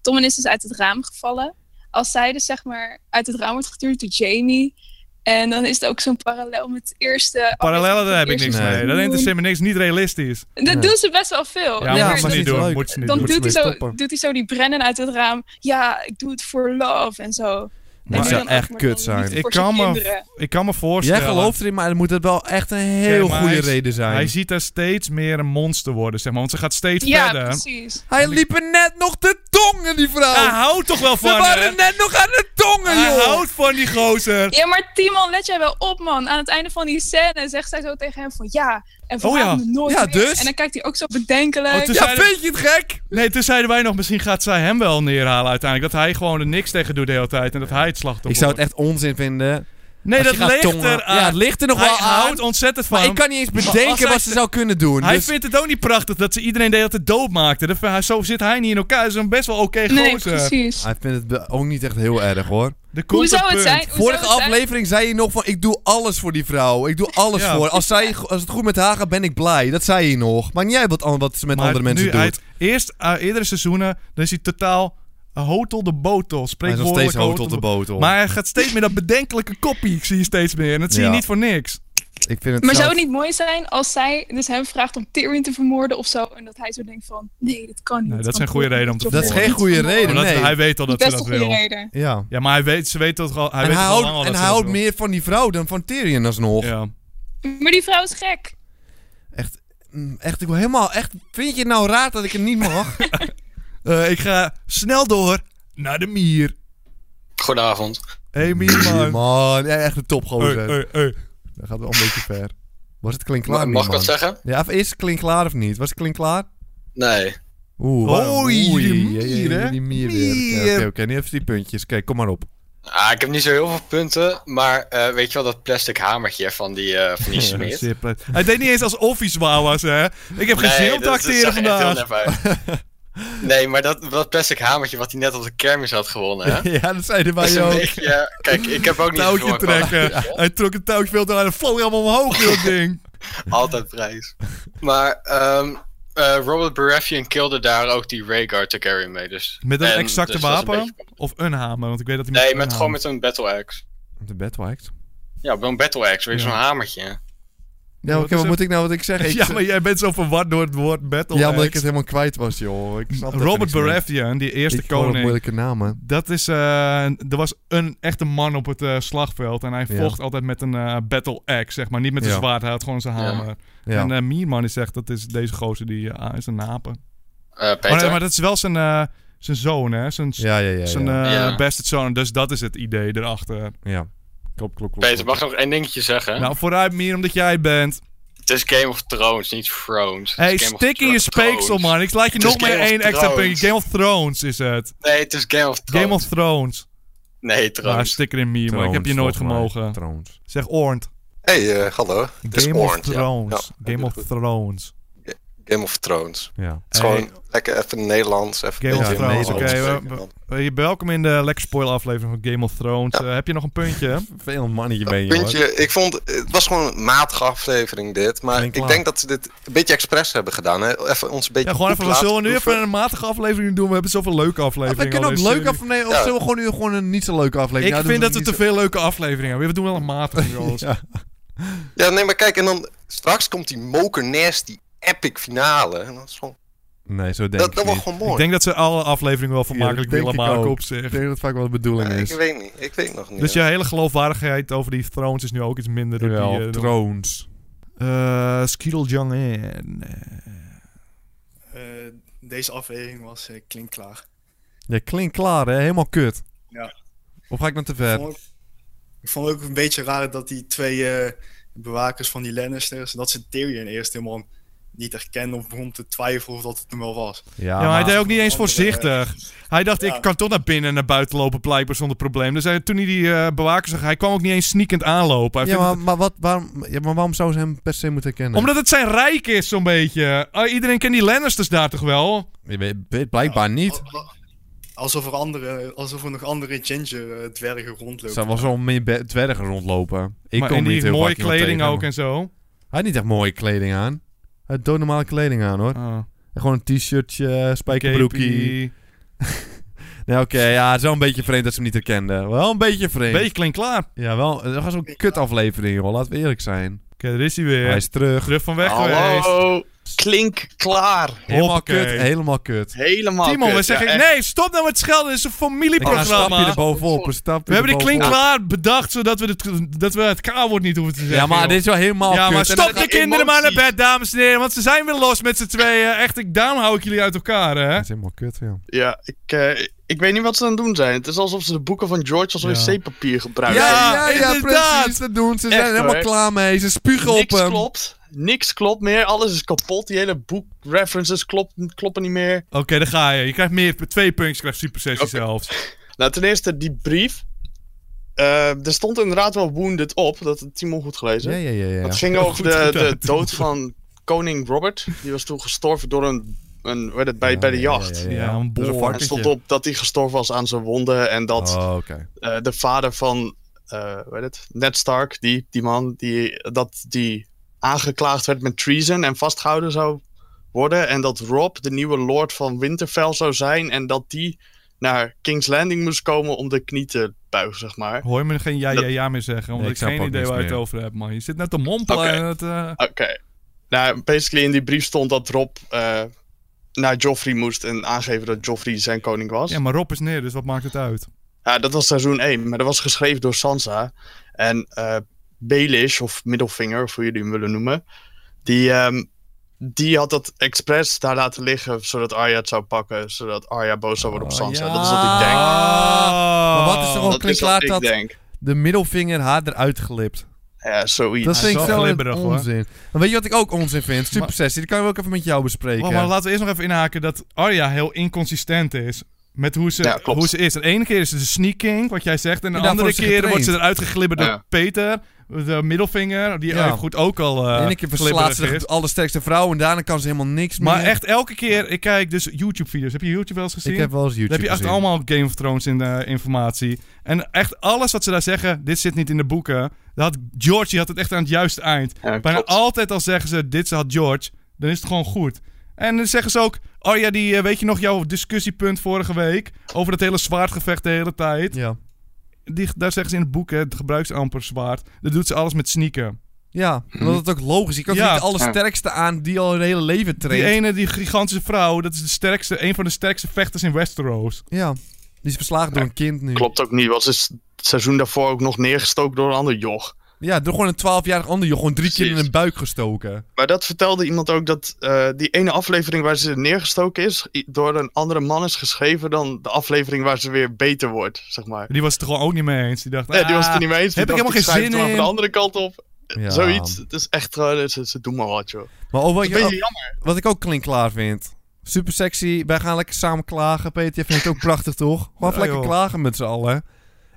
Tommen is dus uit het raam gevallen. Als zij dus zeg maar uit het raam wordt geduwd door Jamie, en dan is het ook zo'n parallel met het eerste...
Parallellen, daar heb ik niks
Nee.
mee. Dat interesseert me niks. Niet realistisch.
Dat
Nee.
doen ze best wel veel. dus
Ja, moet
Ja, maar
ze
dat
niet
is
doen.
leuk.
Moet ze niet
dan
doen.
Moet ze
doet hij,
mee
zo,
stoppen.
doet hij zo die Brennan uit het raam. Ja, ik doe het voor love en zo.
Maar
en
zou
dan
echt
ook, maar dan
kut zijn.
niet
Ik
voor zijn
kan me
kinderen.
Ik kan me
Jij
voorstellen...
gelooft erin, maar dan moet het wel echt een heel
maar
goede
hij is-
reden zijn.
Hij
Hij,
ziet haar steeds meer een monster worden, zeg maar. Want ze gaat steeds
Ja,
verder.
precies.
liep er net nog de tongen, die vrouw!
Hij houdt toch wel
Ze
van
waren
haar?
net nog aan de tongen,
Hij
joh!
houdt van die gozer.
Ja, maar Timon, let jij wel op, man. Aan het einde van die scène zegt zij zo tegen hem van ja, en verlaat
Oh ja.
me nooit
Ja,
meer.
dus?
En dan kijkt hij ook zo bedenkelijk.
Oh, toen
Ja,
zeiden-
vind je het gek?
Nee, toen zeiden wij nog, misschien gaat zij hem wel neerhalen uiteindelijk. Dat hij gewoon er niks tegen doet de hele tijd en dat hij het slachtoffer
Ik zou het
wordt.
echt onzin vinden.
Nee,
Als
dat
je gaat
ligt
tongen-
er aan.
Ja, het ligt er nog
hij
wel aan.
houdt ontzettend van
Maar
hem.
ik kan niet eens
als
bedenken
hij-
wat ze zou kunnen doen.
Hij
dus-
vindt het ook niet prachtig dat ze iedereen de hele tijd doodmaakte. Dat- hij- Zo zit hij niet in elkaar. Hij is een best wel oké
nee,
gozer.
precies.
Hij vindt het be- ook niet echt heel erg, hoor.
Er komt
Hoe
een
zou het
punt.
zijn? Hoe
Vorige
zou het zijn-
aflevering zei je nog van, ik doe alles voor die vrouw. Ik doe alles
Ja.
voor. Als, zij, als het goed met haar gaat, ben ik blij. Dat zei je nog. Maar niet uit wat, an- wat ze met
Maar
andere mensen
nu,
doet.
hij het- eerst, eh, eerdere seizoenen, dan is hij totaal eh, hotel de botel.
Hij is nog
Spreekwoordelijk
steeds hoog tot de botel.
Maar hij gaat steeds meer dat bedenkelijke kopie, ik zie je steeds meer. En dat zie je
Ja.
niet voor niks.
Ik vind het
Maar
zelf-
zou het niet mooi zijn als zij dus hem vraagt om Tyrion te vermoorden of zo? En dat hij zo denkt van, nee, dat kan niet.
Nee, dat
want
zijn goede
Tyrion
redenen om te
wordt
Dat is
vermoorden.
geen goede
vermoord.
reden,
Omdat
nee.
hij weet al dat ze
Best een
dat
goede
wil.
reden.
Ja.
Ja, maar hij weet, ze weet dat al. Hij
en
weet
hij
toch al lang al
houdt, en
dat ze
hij
dat
houdt
wil.
meer van die vrouw dan van Tyrion alsnog.
Ja.
Maar die vrouw is gek.
Mm, Echt, ik wil helemaal... Echt, vind je het nou raar dat ik het niet mag?
Eh, ik ga snel door naar de mier.
Goedenavond.
Hey, mier, man.
Man, ja, echt een
Hey,
topgozer.
hey, hey.
Dat gaat wel een beetje ver. Was het klinkklaar
Ma-
nu,
Mag ik
man?
wat zeggen?
Ja, even eerst klinkklaar of niet? Was het klinkklaar?
Nee.
Oeh, wa-
Oei,
oei,
die
ja, ja,
mier,
ja,
hè?
Die mier weer. Oké,
Mier.
Oké, oké, nu even die puntjes. Oké, kom maar op.
Ah, ik heb niet zo heel veel punten, maar eh, weet je wel dat plastic hamertje van die, eh, van die
Ja,
smeer?
zeer prettig. Hij deed niet eens als office zwaar was, hè? Ik heb geen zin om te acteren vandaag.
nee, maar dat, dat plastic hamertje wat hij net op de kermis had gewonnen, hè?
ja, dat zeiden
Dat is
wij
een
ook.
beetje- kijk, ik heb ook niet
Touwtje
gewonnen, maar
trekken. Hij trok het touwtje veel te hard en vloog helemaal omhoog, dat ding.
Altijd prijs. Maar ehm, eh, Robert Baratheon kilde daar ook die Rhaegar Targaryen mee, dus...
Met een
en-
exacte
dus dat is een
wapen?
beetje-
Of een hamer? Want ik weet dat hij
Nee,
een
met, gewoon
hamer-
met een battle axe.
De bedwaakt.
Ja, met een battle axe, weer
Ja.
zo'n hamertje. Eh,
Ja,
Wat
oké,
is
wat
er-
moet ik nou wat ik zeg? Ik
Ja,
zeg-
maar jij bent zo verward door het woord battle.
ja, omdat
axe.
ik het helemaal kwijt was, joh. Ik snap
Robert Baratheon, die eerste
is koning.
koning.
moeilijke namen.
Dat is, eh, er was een echte man op het eh, slagveld. En hij
Ja.
vocht altijd met een eh, battle axe, zeg maar. Niet met een
Ja.
zwaard, hij had gewoon zijn
Ja.
hamer.
Ja.
En eh Mierman die zegt, dat is deze gozer, die eh, is een apen.
Eh, Peter?
Oh, nee, maar dat is wel zijn, eh, zijn zoon, hè? Zijn,
ja, ja, ja.
zijn
ja.
eh,
Ja.
beste zoon. Dus dat is het idee erachter.
ja. Klop, klop, klop.
Peter, mag ik nog één dingetje zeggen?
Nou, vooruit, Mier, omdat jij bent.
Het is Game of Thrones, niet Thrones. Het
hey,
is Game of
stik in je
Thro-
speeksel,
Thrones.
man. Ik laat je
Het is
nog maar
Game of
één extra
Thrones.
puntje. Game of Thrones is het.
Nee, het is Game of Thrones.
Game of Thrones.
Nee,
Ja,
Thrones.
stik erin, Mier, maar ik heb je nooit gemogen.
Trouwens.
Zeg Ornt.
Hey, eh, hallo. Het is
Game of
Orange, ja.
Thrones.
Ja,
Game
heel
of
goed.
Thrones.
Game of Thrones.
Ja.
Het is
Hey.
gewoon lekker even Nederlands. Even
Game
een
of
beetje
Thrones,
Nederlands
oké, we-
spreken, man.
Eh, je- Welkom in de Lekker Spoiler aflevering van Game of Thrones. Eh, heb je nog een puntje?
Veel mannetje ben je, hoor.
Puntje, ik vond, het was gewoon een matige aflevering dit, maar
Klinkt
ik
laat.
denk dat ze dit een beetje expres hebben gedaan. Hè? Even ons een beetje
Ja, gewoon even,
goed
we zullen we
laten
nu even
proeven.
een matige aflevering doen? We hebben zoveel leuke afleveringen.
we kunnen
al
ook
deze
leuk
serie.
af... Nee, of
Ja.
zullen we gewoon, nu gewoon een niet zo leuke aflevering?
Ik
Nou,
vind
doen
dat we te
niet
veel leuke afleveringen hebben. We doen wel een matige, jongens.
zo-
ja.
Ja.
Ja, nee, maar kijk, en dan straks komt die moker nasty epic finale. En dat is gewoon,
Nee, zo denk
dat,
ik
dat was
niet.
gewoon
Ik
mooi.
denk dat ze alle afleveringen wel vermakelijk
Ja, dat
willen
denk ik
maken
ook.
op zich.
Ik denk dat het vaak wel de bedoeling
Ja,
is.
ik weet niet, ik weet nog niet.
Dus je hele geloofwaardigheid over die Thrones is nu ook iets minder. door
Jawel,
die, eh, door-
Thrones.
Eh, Skeetle Jong in.
Eh, deze aflevering was eh, klinkklaar.
Ja, klinkt klaar, hè? Helemaal kut.
Ja.
Of ga ik nog te ver?
Vond ik, ik vond het ook een beetje raar dat die twee eh, bewakers van die Lannisters, dat ze Tyrion eerst helemaal niet herkenden of begon te twijfelen of dat het hem wel was.
Ja, maar hij deed ook niet eens
Andere-
voorzichtig. Hij dacht,
Ja.
ik kan toch naar binnen en naar buiten lopen, blijkbaar zonder probleem. Dus hij, toen hij die eh bewaker zag, hij kwam ook niet eens sneakend aanlopen. Hij
Ja,
vindt
maar, maar, wat, waarom, ja, maar waarom zou ze hem per se moeten
het-
kennen?
Omdat het zijn rijk is, zo'n beetje. Ah, iedereen kent die Lannisters daar toch wel?
Je weet, weet blijkbaar niet.
Al- al- Alsof er, andere, alsof er nog andere ginger eh, dwergen rondlopen.
Ze was wel meer be- dwergen rondlopen. Ik
maar
kon
in
niet
die
heel
mooie
vaak iemand
kleding ook
tegenkomen.
en zo.
Hij had niet echt mooie kleding aan. Hij had doodnormale kleding aan, hoor.
Ah.
Gewoon een t-shirtje, spijkerbroekie.
Gapie.
Nee, oké, ja, het is wel een beetje vreemd dat ze hem niet herkenden. Wel een beetje vreemd.
Beetje klinkt klaar. Oké,
Ja, wel. Dat was zo'n kut aflevering, joh. Laten we eerlijk zijn.
daar is hij weer.
Hij is terug.
terug van weg geweest.
Hallo, klink klaar.
Helemaal
Hoppakee.
kut, helemaal kut.
Helemaal
Timon,
kut,
we zeggen,
ja, echt.
nee, stop nou met schelden. Dit is een
Ik ga een
familieprogramma.
stapje erbovenop, een stapje
We hebben die
erbovenop.
klinklaar bedacht, zodat we, het- dat we het K-woord niet hoeven te zeggen.
Ja, maar
joh.
dit is wel helemaal
Ja,
kut.
maar
En
stop
dan-
de kinderen maar naar bed, dames en heren. Want ze zijn weer los met z'n tweeën. Echt, ik, daarom hou ik jullie uit elkaar, hè.
Dat is helemaal kut, ja.
Ja, ik, eh, ik weet niet wat ze aan het doen zijn. Het is alsof ze de boeken van George als
Ja.
wc-papier
Ja,
gebruiken.
ja, ja,
inderdaad.
precies. Dat doen ze. Ze zijn
Echt,
er helemaal
hoor.
klaar mee. Ze spugen op
Niks
hem.
klopt. Niks klopt meer. Alles is kapot. Die hele boekreferences klop, kloppen niet meer.
Oké, daar ga je. Je krijgt meer, twee punks, krijgt Super Sessie zelfs.
Nou, ten eerste die brief. Eh, er stond inderdaad wel wounded op. Dat had Timon goed gelezen.
Ja, ja, ja. ja.
Het ging
Heel
over
goed
de,
gedaan,
de dood van koning Robert. Die was toen gestorven door een... een hoe heet het, bij,
Ja,
bij de
ja, ja,
jacht.
Ja, een
Dat is een
boor.
Er
varkentje.
stond op dat hij gestorven was aan zijn wonden. En dat...
Oh, oké.
eh, de vader van, eh hoe heet het? Ned Stark, die, die man, die, dat die aangeklaagd werd met treason en vastgehouden zou worden. En dat Rob de nieuwe lord van Winterfell zou zijn. En dat die naar King's Landing moest komen om de knie te buigen, zeg maar.
Hoor je me geen ja, ja, ja meer zeggen,
Nee,
omdat
ik
ik,
snap
geen
ook
idee
niks
waar je het
meer.
over hebt, man. Je zit net te mompelen
Oké.
en het... eh,
Oké. Nou, basically in die brief stond dat Rob eh, naar Joffrey moest en aangeven dat Joffrey zijn koning was.
Ja, maar Rob is neer, dus wat maakt het uit?
Ja, dat was seizoen 1, maar dat was geschreven door Sansa. En eh Baelish, of Middelvinger, of hoe jullie hem willen noemen, die, ehm, die had dat expres daar laten liggen, zodat Arya het zou pakken, zodat Arya boos zou
Oh,
worden op Sansa. Dat is wat ik denk.
Ah, Maar wat is er
Dat is
ook
wat
kliklaar
ik
dat
denk.
de middelvinger haar eruit glipt?
Ja, zoiets.
Dat vind ik zo
glibberig, hoor.
onzin. En weet je wat ik ook onzin vind? Super Sessie, die kan ik eh, ook even met jou bespreken.
Oh, maar laten we eerst nog even inhaken dat Arya heel inconsistent is. Met hoe ze, hoe ze is. De ene keer is ze de sneak king, wat jij zegt. En de
Ja, daarvoor
andere
is ze
keer wordt ze
getraind.
eruit geglibberd door
Ja.
Peter. De middelvinger, die
Ja.
even goed ook al eh
De ene keer verslaat ze
glibberig
de
is.
allersterkste vrouw en daarna kan ze helemaal niks meer.
Maar echt elke keer, ik kijk dus YouTube-video's. Heb je YouTube wel eens gezien?
Ik heb wel eens
Dan heb je
YouTube
echt
gezien.
allemaal Game of Thrones in de informatie. En echt alles wat ze daar zeggen, dit zit niet in de boeken. Dat had, George die had het echt aan het juiste eind. Bijna altijd al zeggen ze, dit had George, dan is het gewoon goed. En dan zeggen ze ook, oh ja, die, eh, weet je nog jouw discussiepunt vorige week? Over dat hele zwaardgevecht de hele tijd.
Ja.
Die, daar zeggen ze in het boek, hè, het gebruikt ze amper zwaard. Dat doet ze alles met sneaken.
Ja, omdat het ook logisch is. Je kan
Ja.
niet de allersterkste aan die al hun hele leven traint.
Die ene, die gigantische vrouw, dat is de sterkste, een van de sterkste vechters in Westeros.
Ja, die is verslagen door een kind nu.
Klopt ook niet, want ze is het seizoen daarvoor ook nog neergestoken door een ander joch.
Ja, door gewoon een 12-jarig ander joh, gewoon drie keer in de buik gestoken.
Maar dat vertelde iemand ook dat eh, die ene aflevering waar ze neergestoken is, i- door een andere man is geschreven dan de aflevering waar ze weer beter wordt, zeg maar.
Die was het er gewoon ook niet mee eens. Die dacht,
Nee, die was het er
"Ah,
niet mee eens. Die
Heb ik
dacht,
helemaal geen
schrijf
zin
het maar
in.
van de andere kant op.
Ja.
Zoiets. Het is echt gewoon, ze, ze doen maar wat, joh.
Maar oh, wat,
Dat is een
je,
beetje jammer.
wat ik ook klinkklaar vind. Super sexy, wij gaan lekker samen klagen. Peter, jij vindt het ook prachtig, toch? Gewoon even
Ja,
lekker
joh.
klagen met z'n allen.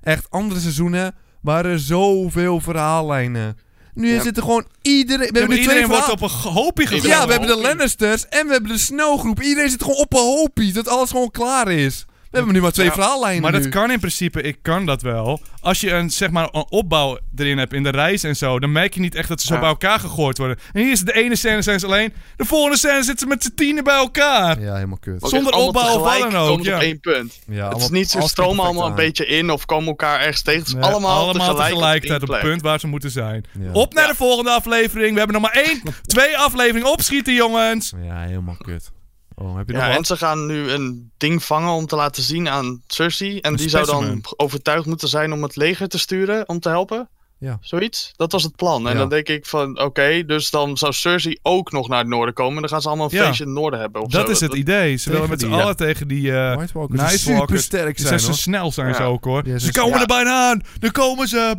Echt, andere seizoenen waren zoveel verhaallijnen. Nu
Ja.
zit er gewoon iedereen... We
Ja,
hebben
maar
nu twee
iedereen wordt
verhaal-
op een g- hoopje gegooid.
Ja, we hebben de Lannisters en we hebben de Snowgroep. Iedereen zit gewoon op een hoopje, dat alles gewoon klaar is. We hebben nu maar twee
Ja,
verhaallijnen
Maar
nu.
dat kan in principe, ik kan dat wel. Als je een, zeg maar, een opbouw erin hebt in de reis en zo, dan merk je niet echt dat ze zo bij elkaar gegooid worden. En hier is de ene scène zijn ze alleen, de volgende scène zitten ze met z'n tienen bij elkaar.
Ja, helemaal kut.
Zonder
allemaal
opbouw of wat
tegelijk
dan ook.
komt
Ja.
op één punt.
Ja,
het is
allemaal-
niet zo
alles komt
stromen
perfect
allemaal een
aan.
beetje in of komen elkaar ergens tegen. Het is
Nee,
allemaal, tegelijk,
tegelijkertijd
op
op
één
het
plek.
punt waar ze moeten zijn. Op naar de volgende aflevering. We hebben nog maar één, twee afleveringen opschieten, jongens.
Ja, helemaal kut. Oh, heb je nog
Ja, en
wat?
ze gaan nu een ding vangen om te laten zien aan Cersei. En
Een
die zou dan
specimen.
overtuigd moeten zijn om het leger te sturen om te helpen.
Ja.
Zoiets. Dat was het plan. En
Ja.
dan denk ik van, oké, dus dan zou Cersei ook nog naar het noorden komen. En dan gaan ze allemaal een
Ja.
feestje in het noorden hebben. Of
Dat
zo.
is het idee. Ze willen met z'n
die,
allen
ja.
tegen die eh
White Walkers
Night
die
Walkers.
supersterk
Die
zijn,
Ze
hoor.
snel zijn
Ja.
ze ook, hoor.
Ja, ze
ze komen
zijn-
er bijna aan. Daar komen ze.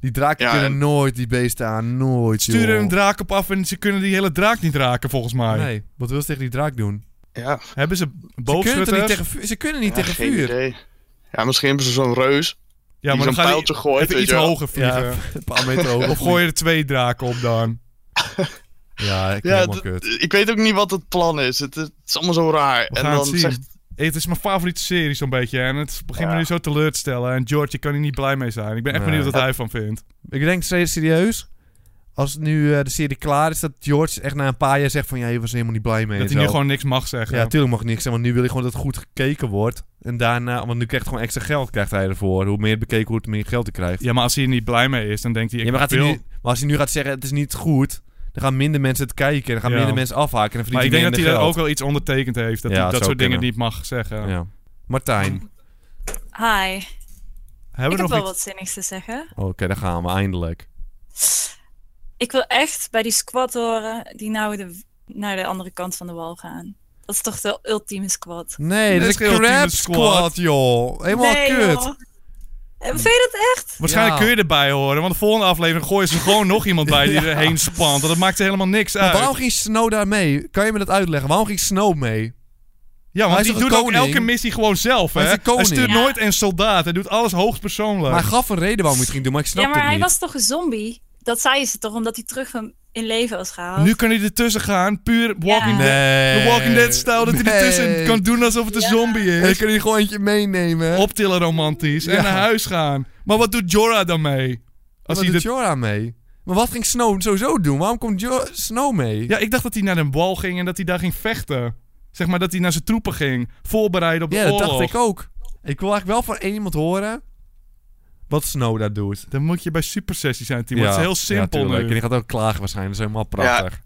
Die draken
Ja,
kunnen
en-
nooit die beesten aan, nooit,
Sturen
joh.
een draak op af en ze kunnen die hele draak niet raken, volgens mij.
Nee, wat wil ze tegen die draak doen?
Ja.
Hebben ze
Ze kunnen,
boogschutters?
er niet tegen, vu- ze kunnen
Ja,
niet tegen
geen
vuur.
idee. Ja, misschien hebben ze zo'n reus.
Ja, maar
die
dan
zo'n
gaan die
pijltje gooit.
even
weet
iets
je wel.
hoger vliegen.
Ja, een paar meter hoger
Of gooi je er twee draken op dan.
Ja, ik
Ja, d- ik weet ook niet wat het plan is. Het, het is allemaal zo raar.
We
en
gaan
dan
het zien.
zegt
Het is mijn favoriete serie zo'n beetje. En het begint me
Ja.
nu zo teleur te stellen. En George, ik kan hier niet blij mee zijn. Ik ben echt
Nee.
benieuwd wat hij van vindt.
Ik denk se- serieus, als nu eh, de serie klaar is, dat George echt na een paar jaar zegt van... Ja, je was er helemaal niet blij mee.
Dat
en
hij nu
zo.
gewoon niks mag zeggen.
Ja, tuurlijk mag ik niks zeggen, want nu wil ik gewoon dat het goed gekeken wordt. En daarna, want nu krijgt hij gewoon extra geld krijgt hij ervoor. Hoe meer het bekeken wordt, hoe meer geld hij krijgt.
Ja, maar als hij er niet blij mee is, dan denkt hij... Ik
Ja, maar, gaat hij
wil-
nu, maar als hij nu gaat zeggen, het is niet goed... Dan gaan minder mensen het kijken. Dan gaan
Ja.
minder mensen afhaken. En dan
Maar ik
verdient
denk
hij
dat hij daar
minder geld.
ook wel iets ondertekend heeft. Dat
Ja,
hij
het
dat
zou
soort dingen
kunnen.
niet mag zeggen.
Ja. Martijn.
Hi.
Hebben
ik
we nog
heb wel
iets-
wat zinnigs te zeggen.
Oké, daar gaan we eindelijk.
Ik wil echt bij die squad horen die nou de, naar de andere kant van de wal gaan. Dat is toch de ultieme squad?
Nee, dat is
geen
een crap
ultieme squad.
squad, joh. Helemaal
Nee,
kut.
joh. Eh, Vind je dat echt?
Waarschijnlijk
Ja.
kun je erbij horen, want de volgende aflevering gooien ze gewoon nog iemand bij die
Ja.
erheen spant. Dat maakt er helemaal niks
Maar
uit.
waarom ging Snow daar mee? Kan je me dat uitleggen? Waarom ging Snow mee?
Ja, want
Hij is
hij
toch een
doet ook
koning?
elke missie gewoon zelf, hè?
Hij is een koning.
stuurt
Ja.
nooit een soldaat. Hij doet alles hoogst persoonlijk.
Maar hij gaf een reden waarom hij het ging doen, maar ik snap
Ja, maar
het
hij
niet.
was toch een zombie? Dat zeiden ze toch omdat hij terug van in leven was gehaald?
Nu kan hij ertussen gaan, puur Walking
Ja.
Dead.
Nee.
De Walking Dead stijl, dat hij
Nee.
ertussen kan doen alsof het een zombie is.
En dan kan hij gewoon eentje meenemen.
Optillen romantisch en
Ja.
naar huis gaan. Maar wat doet Jorah dan mee?
Als
hij
hij
dat-
doet Jorah mee? Maar wat ging Snow sowieso doen? Waarom komt Jo- Snow mee?
Ja, ik dacht dat hij naar een wal ging en dat hij daar ging vechten. Zeg maar dat hij naar zijn troepen ging. Voorbereiden op de
Ja, dat
oorlog.
dacht ik ook. Ik wil eigenlijk wel van één iemand horen wat Snow daar doet.
Dan moet je bij Super Sessie zijn, Timo. Het is heel simpel nu.
En die gaat ook klagen waarschijnlijk. Dat is helemaal prachtig.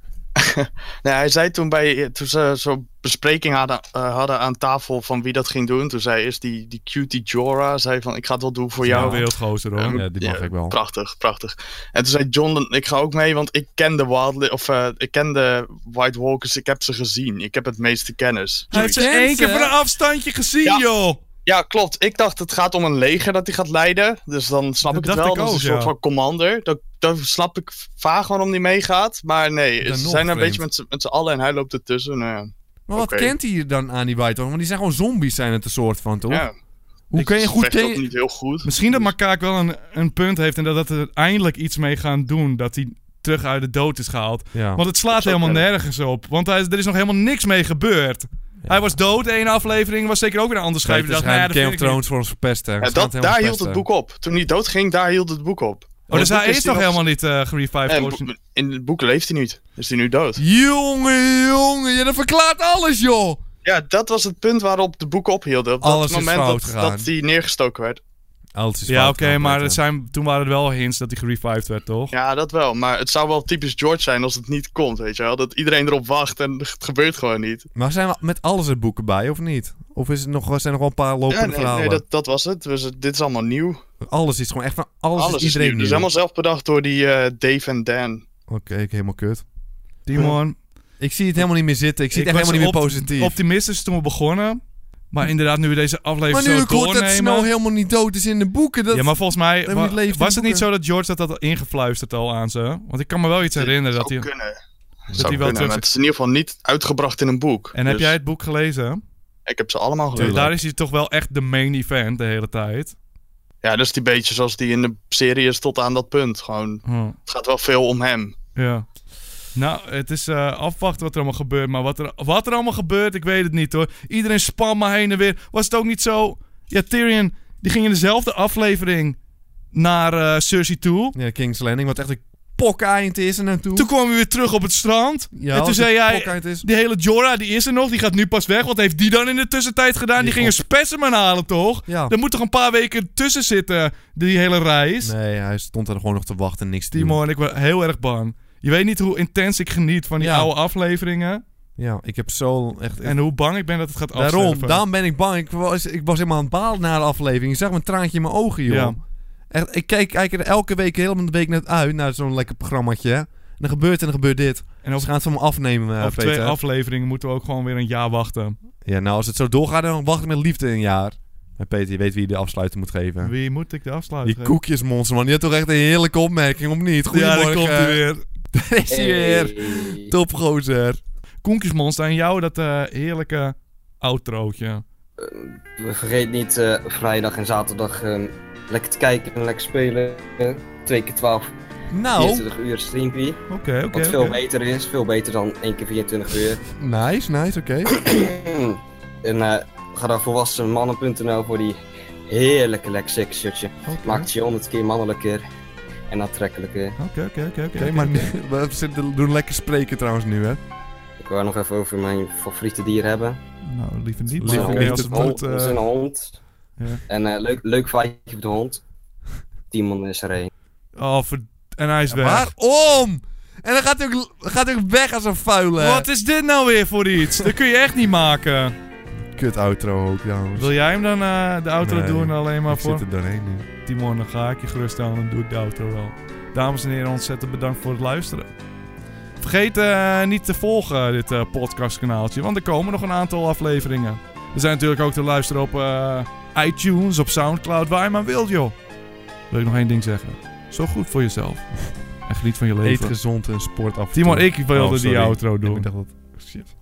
Nee, hij zei toen, bij, toen ze zo'n bespreking hadden, eh, hadden aan tafel van wie dat ging doen. Toen zei eerst die, die cutie Jorah, zei van ik ga het wel doen voor
Ja,
jou.
wereldgozer, hoor.
Ehm,
Ja, die mag ik wel.
Prachtig, prachtig. En toen zei John, dan- ik ga ook mee, want ik ken de Wild, of, eh, ik ken de White Walkers, ik heb ze gezien. Ik heb het meeste kennis.
Hij heeft ze één keer van een afstandje gezien, joh!
Ja, klopt. Ik dacht het gaat om een leger dat hij gaat leiden. Dus dan snap ik het
dacht
wel.
ik
dat is
ook,
een soort
ja.
van commander. Dat, dat snap ik vaag waarom hij meegaat. Maar nee,
Dan
ze
nog
zijn een
vreemd.
beetje met z'n- met z'n allen en hij loopt ertussen. nou ja.
Maar wat
Oké.
kent hij dan aan die White Walkers? Want die zijn gewoon zombies, zijn het een soort van, toch?
Ja.
Hoe kun je goed...
vecht
ken-
ook niet heel goed.
Misschien dat Makaak wel een, een punt heeft en dat dat er eindelijk iets mee gaan doen. Dat hij terug uit de dood is gehaald.
Ja.
Want het slaat helemaal nergens op. Want hij, er is nog helemaal niks mee gebeurd. Hij was dood, één aflevering, was zeker ook weer een ander schrijver.
Peter
die dacht,
schijnt
"Nee, dat
dus Game of
vind ik niet."
Thrones voor ons verpesten.
Ja,
Ze gaan
dat,
helemaal
daar hield het
verpesten.
boek op. Toen hij doodging, daar hield het boek op.
Oh, dus
In het
hij
boek
is nog helemaal niet uh,
Nee,
gerevived.
bo- In het boek leeft hij niet. Is hij nu dood.
Jongen, jongen, ja, dat verklaart alles, joh!
Ja, dat was het punt waarop de boeken ophielden. Op dat
Alles is
moment
fout
dat,
gegaan.
dat hij neergestoken werd.
Alles is
Ja,
fout
oké,
gegaan,
maar
Peter.
het zijn, toen waren er wel hints dat hij gerevived werd, toch?
Ja, dat wel. Maar het zou wel typisch George zijn als het niet komt, weet je wel. Dat iedereen erop wacht en het gebeurt gewoon niet.
Maar zijn we met alles er boeken bij, of niet? Of is het nog, zijn er nog wel een paar lopende
Ja, nee,
verhalen?
nee dat, dat was het. Dus het- dit is allemaal nieuw.
Alles is gewoon echt van... Alles,
Alles
is iedereen
nieuw. Dus
nieuw.
helemaal zelf bedacht door die eh, Dave en Dan.
Oké, ik helemaal kut.
Timon.
Ik zie het helemaal niet meer zitten. Ik zie het echt
was
helemaal niet meer
opt-
positief. Hm.
Optimistisch toen we begonnen. Maar inderdaad, nu we deze
maar
aflevering
nu
zo
ik hoor dat
doornemen...
Snow helemaal niet dood is in de boeken. Dat...
ja, maar volgens
dat
mij
helemaal
wa-
niet leeft in
was
de
het niet
boeken.
zo dat George dat had ingefluisterd al aan ze. Want ik kan me wel iets herinneren dat hij...
Dat
hij
zou
wel
kunnen,
terug-
maar het is in ieder geval niet uitgebracht in een boek.
En heb
Dus
jij het boek gelezen?
Ik heb ze allemaal gelezen.
Daar is hij toch wel echt de main event de hele tijd.
Ja, dat is die beetje zoals die in de serie is tot aan dat punt. Gewoon,
Hm.
het gaat wel veel om hem.
Ja. Nou, het is eh, afwachten wat er allemaal gebeurt. Maar wat er, wat er allemaal gebeurt, ik weet het niet hoor. Iedereen spam maar heen en weer. Was het ook niet zo? Ja, Tyrion, die ging in dezelfde aflevering naar eh, Cersei toe.
Ja, King's Landing, wat echt een pokkeind is er naartoe.
Toen kwam hij weer terug op het strand.
Ja,
en toen
als
zei
het
hij,
pokkeind is.
die hele Jorah, die is er nog. Die gaat nu pas weg. Wat heeft die dan in de tussentijd gedaan? Die, ging een specimen halen, toch?
Ja.
Er moet toch een paar weken tussen zitten, die hele reis?
Nee, hij stond er gewoon nog te wachten en niks te doen.
Timon, ik ben heel erg bang. Je weet niet hoe intens ik geniet van die
Ja.
oude afleveringen.
Ja, ik heb zo echt...
En hoe bang ik ben dat het gaat afsterven.
Daarom, daarom ben ik bang. Ik was, ik was helemaal aan het balen na de aflevering. Ik zag mijn traantje in mijn ogen, joh.
Ja.
Echt, ik kijk, kijk er elke week helemaal de week net uit naar zo'n lekker programmaatje. hè. En dan gebeurt en dan gebeurt dit.
En
Ze gaan het van me afnemen, eh,
Over
Peter.
twee afleveringen moeten we ook gewoon weer een jaar wachten.
Ja, nou, als het zo doorgaat, dan wacht ik met liefde een jaar. Maar Peter, je weet wie je de afsluiter moet geven.
Wie moet ik de afsluiting
Die koekjesmonster, man. Die had toch echt een heerlijke opmerking, of niet? Goedemorgen.
Ja, daar komt hij weer.
Daar is hij weer. Topgozer.
Koekjesmonster, en jou dat eh, heerlijke outrootje.
Vergeet niet eh, vrijdag en zaterdag eh, lekker te kijken en lekker spelen. eh, Twee keer 12.
Nou.
24 uur streampie.
Oké, oké,
Wat veel
oké.
beter is, veel beter dan één keer 24 uur.
Nice, nice, oké.
en eh, ga naar volwassenmannen.nl voor die heerlijke Lexix shirtje. Maakt je 100 keer mannelijker en aantrekkelijker.
Oké, oké, oké.
Oké, maar nu- we zitten- doen lekker spreken trouwens nu, hè.
Ik wil het nog even over mijn favoriete dier hebben.
Nou, liever niet.
Dat is
maar
een
oké,
hond.
als het moet,
Oh, Dat is
eh,
een hond.
Ja.
En eh, leuk, leuk feitje op de hond. Timon is er een.
Oh, verd- en hij is weg.
Waarom? En dan gaat hij ook, gaat hij ook weg als een vuile.
Wat is dit nou weer voor iets? dat kun je echt niet maken.
Kut outro ook, jongens.
Wil jij hem dan eh, de outro
Nee,
doen alleen maar
ik
voor?
zit er doorheen nu.
Timon, dan ga ik je gerust aan en doe ik de outro wel. Dames en heren, ontzettend bedankt voor het luisteren. Vergeet eh, niet te volgen dit eh, podcastkanaaltje, want er komen nog een aantal afleveringen. We zijn natuurlijk ook te luisteren op eh, iTunes, op Soundcloud, waar je maar wilt, joh. Wil ik nog één ding zeggen. Zo goed voor jezelf. En geniet van je leven.
Eet gezond en sport af en
Timon,
toe.
ik wilde
Oh,
die
sorry.
outro doen.
Ik dacht dat... Shit.